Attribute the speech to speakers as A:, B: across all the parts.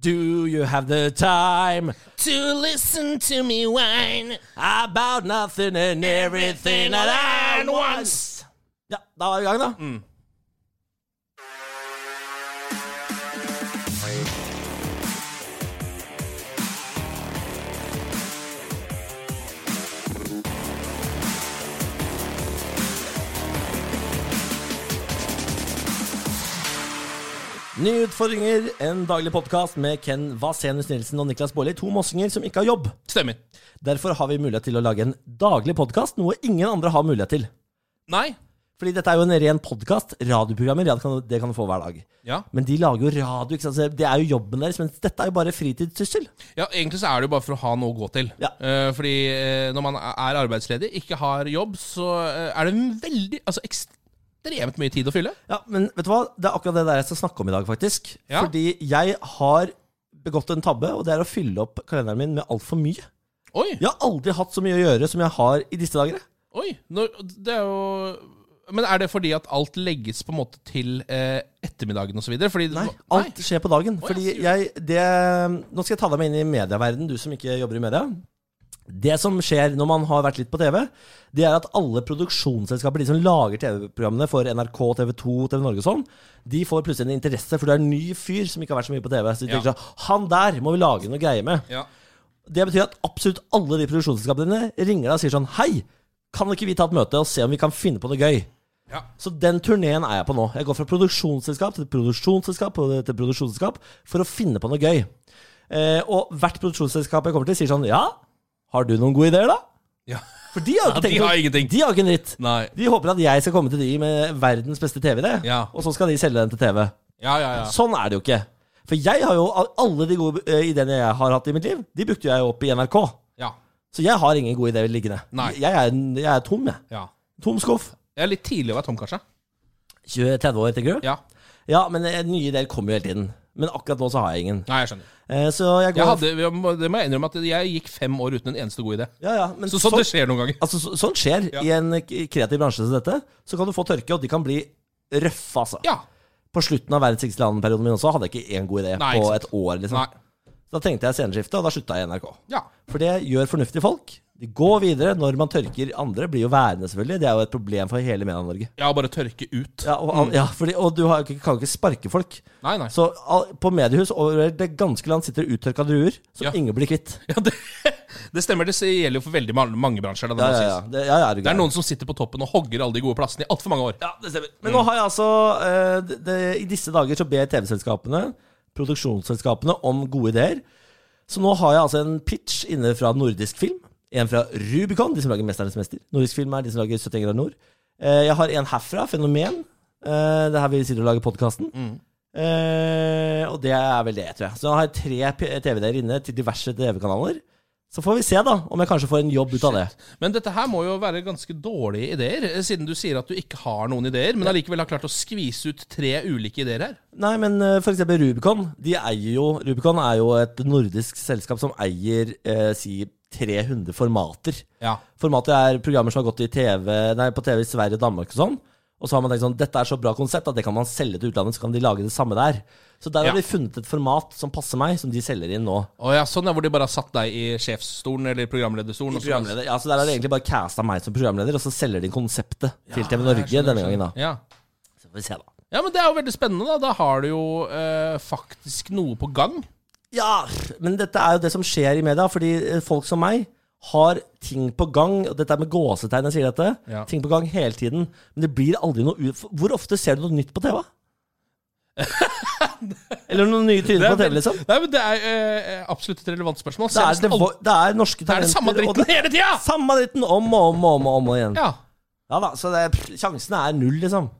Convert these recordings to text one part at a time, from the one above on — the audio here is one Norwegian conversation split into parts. A: Do you have the time to listen to me whine about nothing and everything all at once? Mm. Ja, da var vi i gang, da. Nye utfordringer, en daglig podkast med Ken Vasenus Nilsen og Niklas Baarli. To mossinger som ikke har jobb.
B: Stemmer.
A: Derfor har vi mulighet til å lage en daglig podkast, noe ingen andre har mulighet til.
B: Nei.
A: Fordi dette er jo en ren podkast. Radioprogrammer ja, det kan, det kan du få hver dag.
B: Ja.
A: Men de lager jo radio, ikke sant? så det er jo jobben deres. Mens dette er jo bare fritidssyssel.
B: ja, egentlig så er det jo bare for å ha noe å gå til.
A: Ja.
B: Eh, fordi eh, når man er arbeidsledig, ikke har jobb, så eh, er det en veldig Altså ekstremt mye tid å fylle.
A: Ja, men vet du hva? Det er akkurat det der jeg skal snakke om i dag, faktisk.
B: Ja.
A: Fordi jeg har begått en tabbe, og det er å fylle opp kalenderen min med altfor mye.
B: Oi!
A: Jeg har aldri hatt så mye å gjøre som jeg har i disse dager. jeg.
B: oi nå, det er jo Men er det fordi at alt legges på en måte til eh, ettermiddagen osv.? Fordi
A: Nei, alt skjer på dagen.
B: Å,
A: Fordi
B: ja,
A: jeg, det, nå skal jeg ta deg med inn i medieverdenen, du som ikke jobber i media. Det som skjer når man har vært litt på TV, det er at alle produksjonsselskaper, de som lager TV-programmene for NRK, TV 2, TV Norge og sånn, de får plutselig en interesse, for du er en ny fyr som ikke har vært så mye på TV. Så de
B: Ja.
A: tenker sånn, han der må vi lage noe greie med.
B: Ja.
A: Det betyr at absolutt alle de produksjonsselskapene dine ringer deg og sier sånn, hei, kan ikke vi ta et møte og se om vi kan finne på noe gøy?
B: ja.
A: Så den turneen er jeg på nå. Jeg går fra produksjonsselskap til produksjonsselskap til produksjonsselskap for å finne på noe gøy. Eh, og hvert produksjonsselskap jeg kommer til, sier sånn Ja, har du noen gode ideer, da?
B: ja.
A: For de har jo
B: Ja,
A: ikke,
B: de
A: tenkt
B: har
A: noe-
B: ingenting.
A: De har jo ikke en dritt.
B: Nei.
A: De håper at jeg skal komme til de med verdens beste TV-idé,
B: Ja.
A: og så skal de selge den til TV.
B: Ja, ja, ja.
A: Sånn er det jo ikke. For jeg har jo alle de gode eh, ideene jeg har hatt i mitt liv, de brukte jeg jo opp i NRK.
B: ja.
A: Så jeg har ingen gode ideer liggende.
B: Nei.
A: Jeg, er, en- jeg er tom, jeg.
B: ja.
A: Tom skuff.
B: Jeg er litt tidlig å være tom, kanskje.
A: 20-30 år, tenker du?
B: Ja.
A: Ja, men eh, nye ideer kommer jo hele tiden. Men akkurat nå så har jeg ingen.
B: Nei, jeg skjønner.
A: Eh, Så jeg går
B: Jeg hadde, det må jeg innrømme at jeg gikk fem år uten en eneste god idé.
A: ja, ja, men
B: Så sånn det skjer noen ganger.
A: altså, så, sånt skjer
B: Ja.
A: i en k- kreativ bransje som dette. Så kan du få tørke, og de kan bli røffe, altså.
B: Ja.
A: På slutten av verdens rikeste land-perioden min også hadde jeg ikke én god idé
B: Nei,
A: på
B: ikke
A: et år. liksom.
B: Nei.
A: Så Da tenkte jeg sceneskifte, og da slutta jeg i NRK.
B: Ja.
A: For det gjør fornuftige folk. De går videre når man tørker andre. Blir jo værende, selvfølgelig. Det er jo et problem for hele Media-Norge.
B: Ja, bare tørke ut.
A: Ja, og, ja, fordi, og du har, jo ikke- kan jo ikke sparke folk.
B: Mm. Nei, nei.
A: Så al- på mediehus over det ganske land sitter det uttørka druer som
B: Ja.
A: ingen blir kvitt.
B: Ja, det, det stemmer. Det gjelder jo for veldig ma- mange bransjer. Da, det,
A: Ja,
B: må
A: ja, ja.
B: sies.
A: Det, ja, ja, er du
B: det er
A: gæren.
B: noen som sitter på toppen og hogger alle de gode plassene i altfor mange år.
A: Ja, det stemmer. Men nå har jeg altså eh, det, det, I disse dager så ber TV-selskapene, produksjonsselskapene, om gode ideer. Så nå har jeg altså en pitch inne fra nordisk film. En fra Rubicon, de som lager 'Mesternes mester'. Nordisk film er de som lager 71 grader nord. Eh, jeg har en herfra, 'Fenomen'. Eh, det er her vi sitter og lager podkasten. Eh, og det er vel det, tror jeg. Så nå har jeg tre p- TV-ideer inne til diverse TV-kanaler. Så får vi se, da, om jeg kanskje får en jobb ut av det.
B: Men dette her må jo være ganske dårlige ideer, eh, siden du sier at du ikke har noen ideer, men allikevel har klart å skvise ut tre ulike ideer her.
A: Nei, men eh, for eksempel Rubicon. De eier jo Rubicon er jo et nordisk selskap som eier eh, si 300 formater.
B: Ja.
A: Formater er programmer som har gått i TV, nei, på TV i Sverige og Danmark og sånn. Og så har man tenkt sånn, dette er så bra konsept at det kan man selge til utlandet, så kan de lage det samme der. Så der
B: Ja.
A: har de funnet et format som passer meg, som de selger inn nå.
B: Å ja, sånn er hvor de bare har satt deg i sjefsstolen eller programlederstolen. og så-
A: Programleder, ja, så der har de egentlig bare casta meg som programleder, og så selger de konseptet til TV
B: Jeg
A: Norge
B: skjønner,
A: denne gangen, da.
B: Ja.
A: Så får vi se, da.
B: ja, men det er jo veldig spennende, da. Da har du jo eh, faktisk noe på gang.
A: Ja, men dette er jo det som skjer i media, fordi eh, folk som meg har ting på gang, og dette er med gåsetegn jeg sier dette,
B: Ja.
A: ting på gang hele tiden, men det blir aldri noe ut... Hvor ofte ser du noe nytt på TV? Eller noen nye tryner på TV, liksom?
B: Nei, men det er eh, absolutt et relevant spørsmål.
A: Det er,
B: Senest
A: det,
B: aldri-
A: vo- det er norske
B: det er
A: talenter.
B: det samme dritten
A: og det-
B: hele tida!
A: Samme dritten om og om og om, og om igjen.
B: Ja.
A: Ja da, så det, pff, sjansen er null, liksom.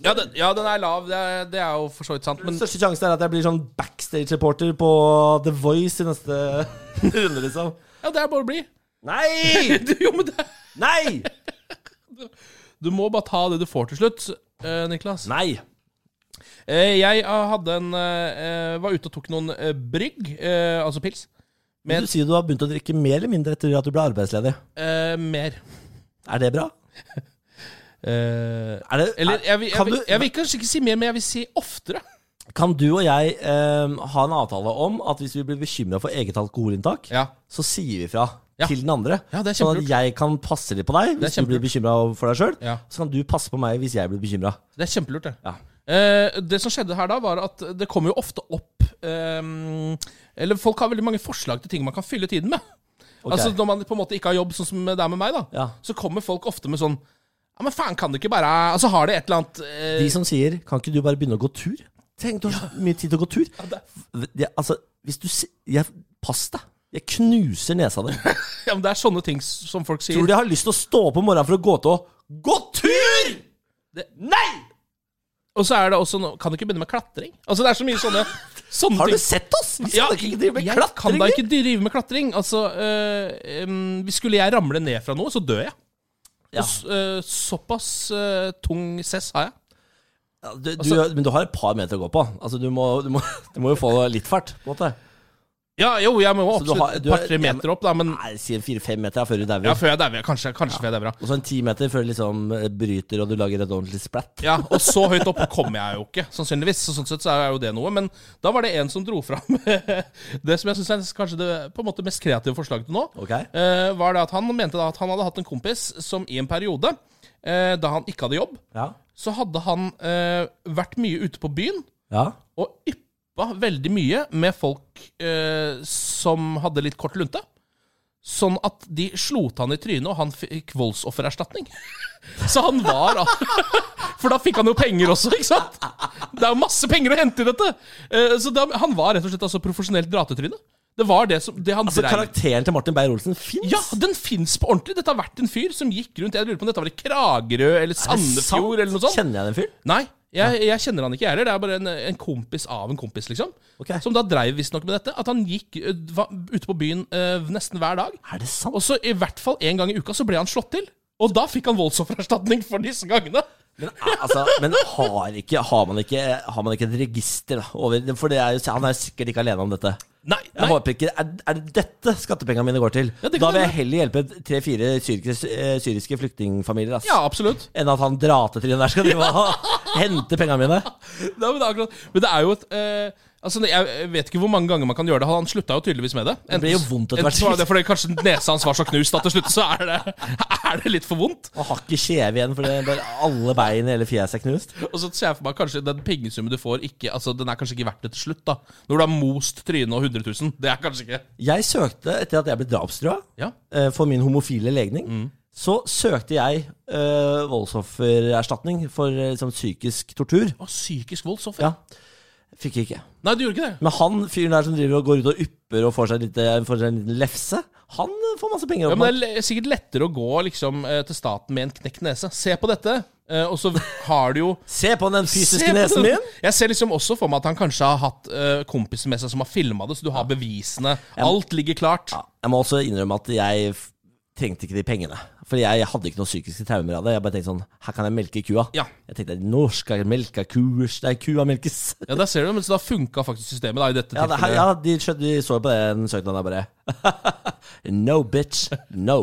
B: Ja, den, ja, den er lav. Det er, det er jo for så vidt sant. Men
A: Den største sjansen er at jeg blir sånn backstage-reporter på The Voice i neste runde, liksom.
B: ja, det er bare å bli.
A: Nei!
B: Du- jo, men det,
A: Nei!
B: du må bare ta det du får til slutt, eh, Niklas.
A: Nei!
B: Eh, jeg eh, hadde en eh, eh, Var ute og tok noen eh, brygg, eh, altså pils.
A: Men
B: Men-
A: du sier du har begynt å drikke mer eller mindre etter at du ble arbeidsledig.
B: Eh, mer.
A: Er det bra?
B: Eh,
A: Er det,
B: eller jeg, vil- jeg,
A: kan
B: vil-
A: du-
B: jeg vil kanskje ikke si mer, men jeg vil si oftere.
A: Kan du og jeg eh, ha en avtale om at hvis vi blir bekymra for eget alkoholinntak,
B: Ja.
A: så sier vi fra
B: Ja.
A: til den andre.
B: Ja, det er
A: sånn at
B: kjempelurt.
A: jeg kan passe litt på deg
B: Det
A: hvis
B: er
A: du blir bekymra for deg sjøl.
B: Ja.
A: Så kan du passe på meg hvis jeg blir bekymra.
B: Det er kjempelurt, det.
A: Ja.
B: Eh, det som skjedde her da, var at det kommer jo ofte opp eh, Eller folk har veldig mange forslag til ting man kan fylle tiden med.
A: Ok.
B: Altså Når man på en måte ikke har jobb, sånn som det er med meg, da,
A: Ja.
B: så kommer folk ofte med sånn Ja, men faen, kan du ikke bare Altså har det et eller annet eh,
A: De som sier 'kan ikke du bare begynne å gå tur'? Tenk, du har så mye tid til å gå tur. Jeg, altså, hvis du si- jeg, Pass deg. Jeg knuser nesa di.
B: ja, men Det er sånne ting som folk sier.
A: Tror du jeg har lyst til å stå opp om morgenen for å gå til å gå tur?!
B: Det-
A: Nei!
B: Og så er det også noe Kan du ikke begynne med klatring? Altså Det er så mye sånne, sånne
A: Har du
B: ting.
A: sett oss? Vi skal ikke drive med
B: jeg kan da
A: klatring.
B: ikke drive med klatring. Altså, øh, em, hvis skulle jeg ramle ned fra noe, så dør jeg.
A: Ja.
B: Og s- øh, såpass øh, tung cess har jeg.
A: Ja, du, du,
B: Altså-
A: men du har et par meter å gå på. Altså, du, må, du, må, du må jo få litt fart. På en måte.
B: Ja, jo, jeg må
A: Så du har-
B: absolutt et
A: du er-
B: par-tre
A: ja, men-
B: meter opp, da, men
A: Nei, si fire-fem meter ja, før du dauer.
B: ja, før jeg dauer. Kanskje, kanskje før jeg dauer. da.
A: Og så en ti meter før du liksom eh, bryter og du lager et ordentlig splatt.
B: Ja, og så høyt opp kommer jeg jo ikke, sannsynligvis. Så sånn sett så er jo det noe. Men da var det en som dro fram det som jeg syns er kanskje det på en måte mest kreative forslaget til nå.
A: Ok?
B: eh, var det at han mente da at han hadde hatt en kompis som i en periode, eh, da han ikke hadde jobb,
A: Ja.
B: så hadde han eh, vært mye ute på byen
A: ja.
B: og yppa veldig mye med folk eh, som hadde litt kort lunte. Sånn at de slo til han i trynet, og han fikk voldsoffererstatning. Så han var al- For da fikk han jo penger også, ikke sant? Det er jo masse penger å hente i dette! Eh, Så da, han var rett og slett altså profesjonelt dratetryne. Det var det som det han
A: Så
B: dreiv
A: karakteren til Martin Beyer-Olsen fins?
B: ja, den fins på ordentlig. Dette har vært en fyr som gikk rundt Jeg lurer på om dette var i Kragerø eller Sandefjord eller noe sånt.
A: Kjenner jeg den fyren?
B: Nei, jeg, jeg kjenner han ikke, jeg heller. Det er bare en, en kompis av en kompis, liksom.
A: Ok.
B: Som da dreiv visstnok med dette. At han gikk ø, var ute på byen ø, nesten hver dag.
A: Er det sant?
B: Og så i hvert fall én gang i uka så ble han slått til. Og da fikk han voldsoffererstatning for disse gangene.
A: Men, altså, men har, ikke, har, man ikke, har man ikke et register da, over For det er jo, han er sikkert ikke alene om dette.
B: Nei,
A: Jeg
B: nei.
A: håper ikke, Er, er det dette skattepengene mine går til?
B: Ja, det
A: da
B: kan
A: vil jeg
B: hende.
A: heller hjelpe tre-fire syriske, eh, syriske flyktningfamilier ass,
B: Ja, absolutt.
A: enn at han dratetrynet der skal drive og hente pengene mine.
B: Nei, men, det er akkurat, men det er jo et eh, Altså, Jeg vet ikke hvor mange ganger man kan gjøre det. Han slutta jo tydeligvis med det.
A: Det blir jo vondt etter hvert.
B: enten så var det fordi kanskje nesa hans var så knust at til slutt så er det, er det litt for vondt.
A: Og har ikke kjeve igjen, for det er bare alle bein i hele fjeset er knust.
B: Og så ser jeg for meg kanskje den pengesummen du får, ikke, altså, den er kanskje ikke verdt det til slutt. da Når du har most trynet og 100 000. Det er kanskje ikke
A: Jeg søkte, etter at jeg ble drapstrua
B: Ja,
A: eh, for min homofile legning,
B: Mm.
A: så søkte jeg eh, voldsoffererstatning for eh, liksom, psykisk tortur.
B: Å, Psykisk voldsoffer?
A: Ja. Fikk jeg ikke.
B: Nei, du gjorde ikke det.
A: Men han fyren der som driver og går ut og ypper og får seg, litt, eh, får seg en liten lefse, han eh, får masse penger.
B: Ja,
A: opp,
B: men Det er le- sikkert lettere å gå liksom, eh, til staten med en knekt nese. Se på dette, eh, og så har du jo
A: Se på den fysiske
B: Se på
A: nesen
B: det.
A: min!
B: Jeg ser liksom også for meg at han kanskje har hatt eh, kompiser med seg som har filma det, så du har bevisene. Alt ligger klart.
A: Jeg må også innrømme at jeg f- trengte ikke de pengene. Fordi jeg hadde ikke noen psykiske traumer av det. Jeg bare tenkte sånn Her kan jeg melke kua.
B: Ja.
A: Jeg tenkte nå skal jeg melke kuers Nei, kua melkes.
B: Ja, der ser du, men så da funka faktisk systemet da, i dette
A: Ja, det, her, ja
B: tilfellet.
A: de, skjø- de så på den søknaden der bare No, bitch. No.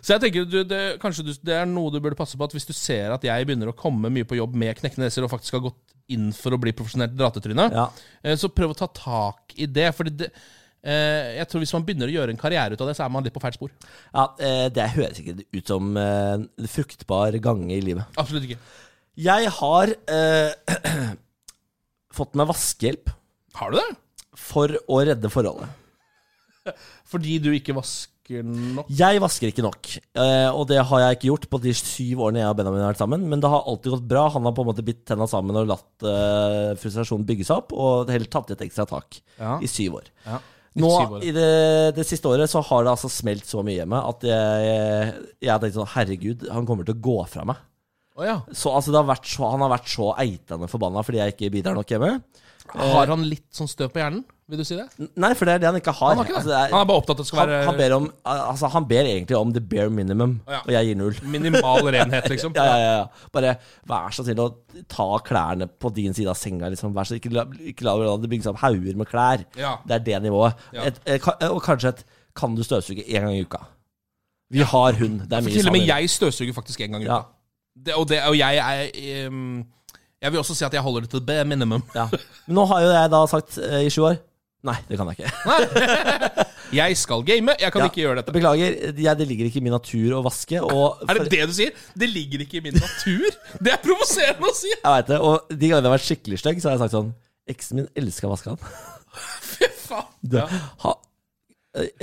B: Så jeg tenker du, det, kanskje du, det er noe du burde passe på, at hvis du ser at jeg begynner å komme mye på jobb med knekte neser og faktisk har gått inn for å bli profesjonelt dratetryne,
A: Ja.
B: eh, så prøv å ta tak i det. Fordi det eh, jeg tror Hvis man begynner å gjøre en karriere ut av det, så er man litt på feil spor.
A: ja eh, det høres ikke ut som eh, en fruktbar gange i livet.
B: Absolutt ikke.
A: Jeg har eh, fått meg vaskehjelp
B: Har du det?
A: for å redde forholdet.
B: Fordi du ikke vasker nok?
A: Jeg vasker ikke nok, eh, og det har jeg ikke gjort på de syv årene jeg og Benjamin har vært sammen. Men det har alltid gått bra. Han har på en måte bitt tenna sammen og latt eh, frustrasjonen bygge seg opp, og heller tatt et ekstra tak
B: Ja.
A: i syv år.
B: Ja.
A: Nå,
B: Syv år.
A: I det, det siste året så har det altså smelt så mye hjemme at jeg, jeg har tenkt sånn Herregud, han kommer til å gå fra meg.
B: Å ja.
A: Så, altså, det har vært så, Han har vært så eitende forbanna fordi jeg ikke bidrar nok hjemme.
B: Har han litt sånn støv på hjernen? Vil du si det?
A: Nei, for det er det han ikke har.
B: Han har ikke det.
A: Altså, det er-
B: han er bare opptatt av at det skal
A: han,
B: være
A: han, ber om, altså, han ber egentlig om the bare minimum,
B: Ja.
A: og jeg gir null.
B: minimal renhet, liksom.
A: Ja, ja, ja, ja. Bare vær så snill å ta klærne på din side av senga. Liksom. Vær så, ikke la, ikke la la det bygge seg opp hauger med klær.
B: Ja.
A: Det er det nivået.
B: Ja.
A: Et, eh, ka- og kanskje et Kan du støvsuge én gang i uka? Vi har hund. Det er mye
B: Til og med
A: sammen.
B: jeg støvsuger faktisk en gang i uka.
A: Ja.
B: Det, og, det, og jeg er ehm, Jeg vil også si at jeg holder det til bare minimum.
A: Ja. Men nå har jo jeg da sagt eh, i sju år Nei, det kan jeg ikke.
B: Jeg skal game, jeg kan
A: Ja.
B: ikke gjøre dette.
A: Beklager, jeg, det ligger ikke i min natur å vaske. Og
B: Er det det du sier? Det ligger ikke i min natur! Det er provoserende å si!
A: Jeg vet det, og De gangene jeg har vært skikkelig stygg, så har jeg sagt sånn Eksen min elsker å vaske han.
B: Fy faen. Ja.
A: Ha,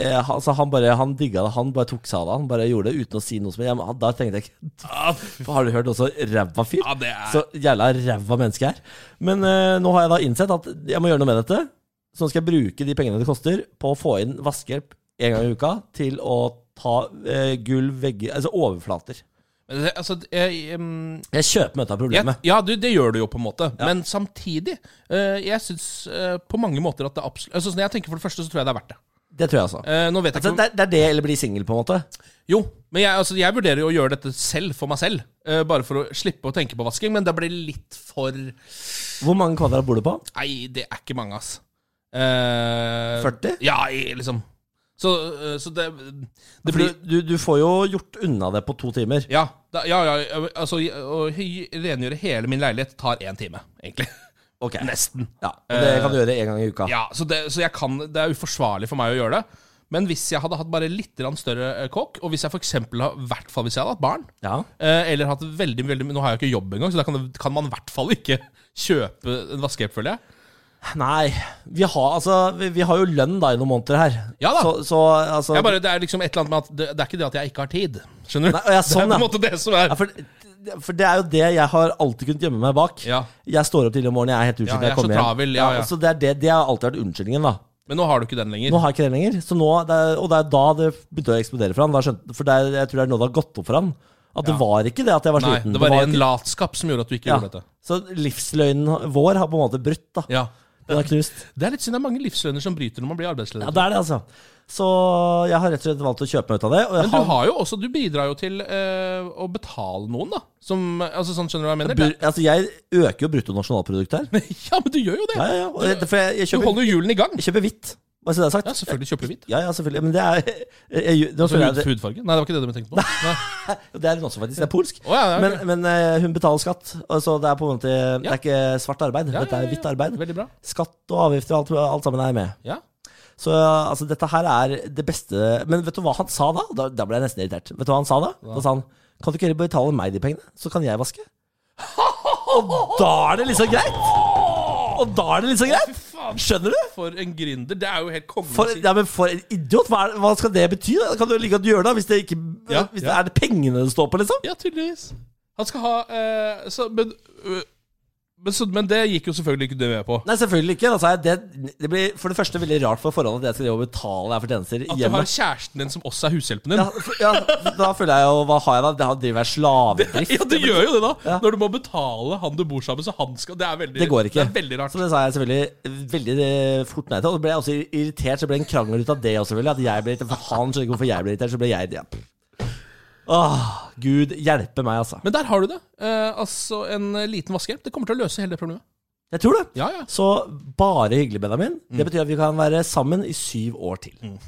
A: eh, han- så han bare han digga det. Han bare tok seg av det. Han bare gjorde det uten å si noe som jeg, men Da tenkte jeg ikke
B: Ah, fy
A: Har du hørt også ræva fyr?
B: Ja, det er-
A: Så jævla ræva menneske her. Men eh, nå har jeg da innsett at jeg må gjøre noe med dette. Så nå skal jeg bruke de pengene det koster på å få inn vaskehjelp en gang i uka til å ta eh, gulv, vegger Altså overflater.
B: Men det- Altså, jeg, em,
A: Jeg kjøper meg ut av
B: jeg,
A: problemet.
B: ja, du, det gjør du jo på en måte, men samtidig eh, Jeg syns eh, på mange måter at det absolutt altså, Når jeg tenker for det første, så tror jeg det er verdt det.
A: Det tror jeg altså.
B: Eh, nå vet jeg
A: Så
B: ikke om,
A: det, er- det er det, eller bli singel, på en måte.
B: Jo, men jeg, altså, jeg vurderer jo å gjøre dette selv, for meg selv. eh, bare for å slippe å tenke på vasking, men det blir litt for Nei,
A: Hvor mange kvadrat bor du på?
B: det er ikke mange, ass. Eh,
A: 40?
B: Ja, i- liksom. Så, eh, så det, det
A: For
B: blir
A: du, du, du får jo gjort unna det på to timer.
B: Ja, da, ja, ja altså, å hy- rengjøre hele min leilighet tar én time, egentlig.
A: Ok.
B: Nesten.
A: Ja, og det
B: Eh.
A: kan du gjøre en gang i uka.
B: Ja, så det, så jeg kan, det er uforsvarlig for meg å gjøre det. Men hvis jeg hadde hatt bare litt grann større eh, kokk, og hvis jeg for eksempel, har- i hvert fall hvis jeg hadde hatt barn
A: Ja.
B: eh, Eller hatt veldig, veldig Nå har jeg jo ikke jobb engang, så da kan, det- kan man i hvert fall ikke kjøpe en vaskehjelp, føler jeg.
A: Nei, vi har, altså, vi, vi har jo lønn da i noen måneder her.
B: Ja da.
A: Så, så altså
B: jeg bare, det er liksom et eller annet med at det, det er ikke det at jeg ikke har tid. Skjønner du?
A: Nei, og jeg er sånn,
B: det er på en
A: ja.
B: måte det som er
A: ja, for, for det er jo det jeg har alltid kunnet gjemme meg bak.
B: Ja.
A: Jeg står opp tidlig om morgenen, jeg er helt utslitt.
B: Ja,
A: når
B: jeg er så
A: kommer hjem.
B: travel, ja, ja.
A: Så det, er det, det har alltid vært unnskyldningen, da.
B: Men nå har du ikke den lenger.
A: Nå har jeg ikke det lenger. Så nå, det er, og det er da det begynte å eksplodere for han. Da skjønte, for det er, jeg tror det er nå det har gått opp for han. At det var ikke det at jeg var
B: Nei,
A: sliten.
B: det var ren
A: ikke-
B: latskap som gjorde at du ikke gjorde
A: ja.
B: dette.
A: Så livsløgnen vår har på en måte brutt, da.
B: Ja.
A: Den har knust.
B: Det er litt synd det er mange livsløgner som bryter når man blir arbeidsledig.
A: Ja, det er det, altså. Så jeg har rett og slett valgt å kjøpe meg ut av det. Og jeg
B: Men du har jo også, du bidrar jo til eh, å betale noen, da. Som, altså sånn Skjønner du hva jeg mener?
A: Bur, altså, jeg øker jo bruttonasjonalprodukt her.
B: ja, men du gjør jo det!
A: Ja, ja, ja. Og jeg- For jeg, jeg,
B: Du
A: kjøper,
B: holder jo hjulene i gang.
A: jeg kjøper hvitt. Hva skulle jeg sagt?
B: Ja, selvfølgelig kjøper du hvitt.
A: Ja, ja, selvfølgelig. Men det er jeg, jeg, nå
B: Så
A: føler jeg
B: hud-
A: det,
B: Hudfarge? Nei, det var ikke det du tenkte på. Nei.
A: det er hun også, faktisk. Det er polsk.
B: Å, ja, ja,
A: Men,
B: ok.
A: men eh, hun betaler skatt, og så det er på en måte Det er ikke svart arbeid.
B: Ja,
A: Dette
B: ja,
A: er
B: ja.
A: hvitt arbeid.
B: Veldig bra.
A: Skatt og avgifter og alt, alt sammen er med.
B: Ja.
A: Så altså, dette her er det beste Men vet du hva han sa da? Da, da ble jeg nesten irritert. Vet du hva han sa da? Da sa han Kan du ikke heller betale meg de pengene, så kan jeg vaske? Og da er det liksom greit! Og da er det liksom greit!
B: faen.
A: Skjønner du?
B: For en gründer. Det er jo helt konge.
A: For,
B: å si.
A: ja, men for en idiot! Hva, er, hva skal det bety? da? Kan du like godt gjøre det hvis det ikke
B: Ja,
A: Hvis det
B: ja.
A: er det pengene det står på, liksom?
B: Ja, tydeligvis. Han skal ha eh, så, men, øh, men, så, men det gikk jo selvfølgelig ikke du med på.
A: Nei, selvfølgelig ikke. Da sa jeg det, det blir for det første veldig rart for forholdet at jeg skal drive og betale her for tjenester
B: At du
A: hjemme.
B: har kjæresten din som også er hushjelpen din.
A: Ja, for- ja, da føler jeg jo Hva har jeg da? Da driver jeg slavedrift.
B: Ja, du gjør jo det, da! Når du må betale han du bor sammen med, så han skal Det er veldig,
A: Det går ikke.
B: er veldig rart.
A: Så det sa jeg selvfølgelig veldig eh, fort nei til. Og så ble jeg også irritert, så det ble en krangel ut av det også, selvfølgelig. At jeg ble irritert, for han skjønner ikke hvorfor jeg ble irritert, så ble jeg ja. Åh, Gud hjelpe meg, altså.
B: Men der har du det. Eh, altså, en eh, liten vaskehjelp. Det kommer til å løse hele det problemet.
A: Jeg tror det.
B: Ja, ja.
A: Så bare hyggelig, Benjamin. Det betyr at vi kan være sammen i syv år til.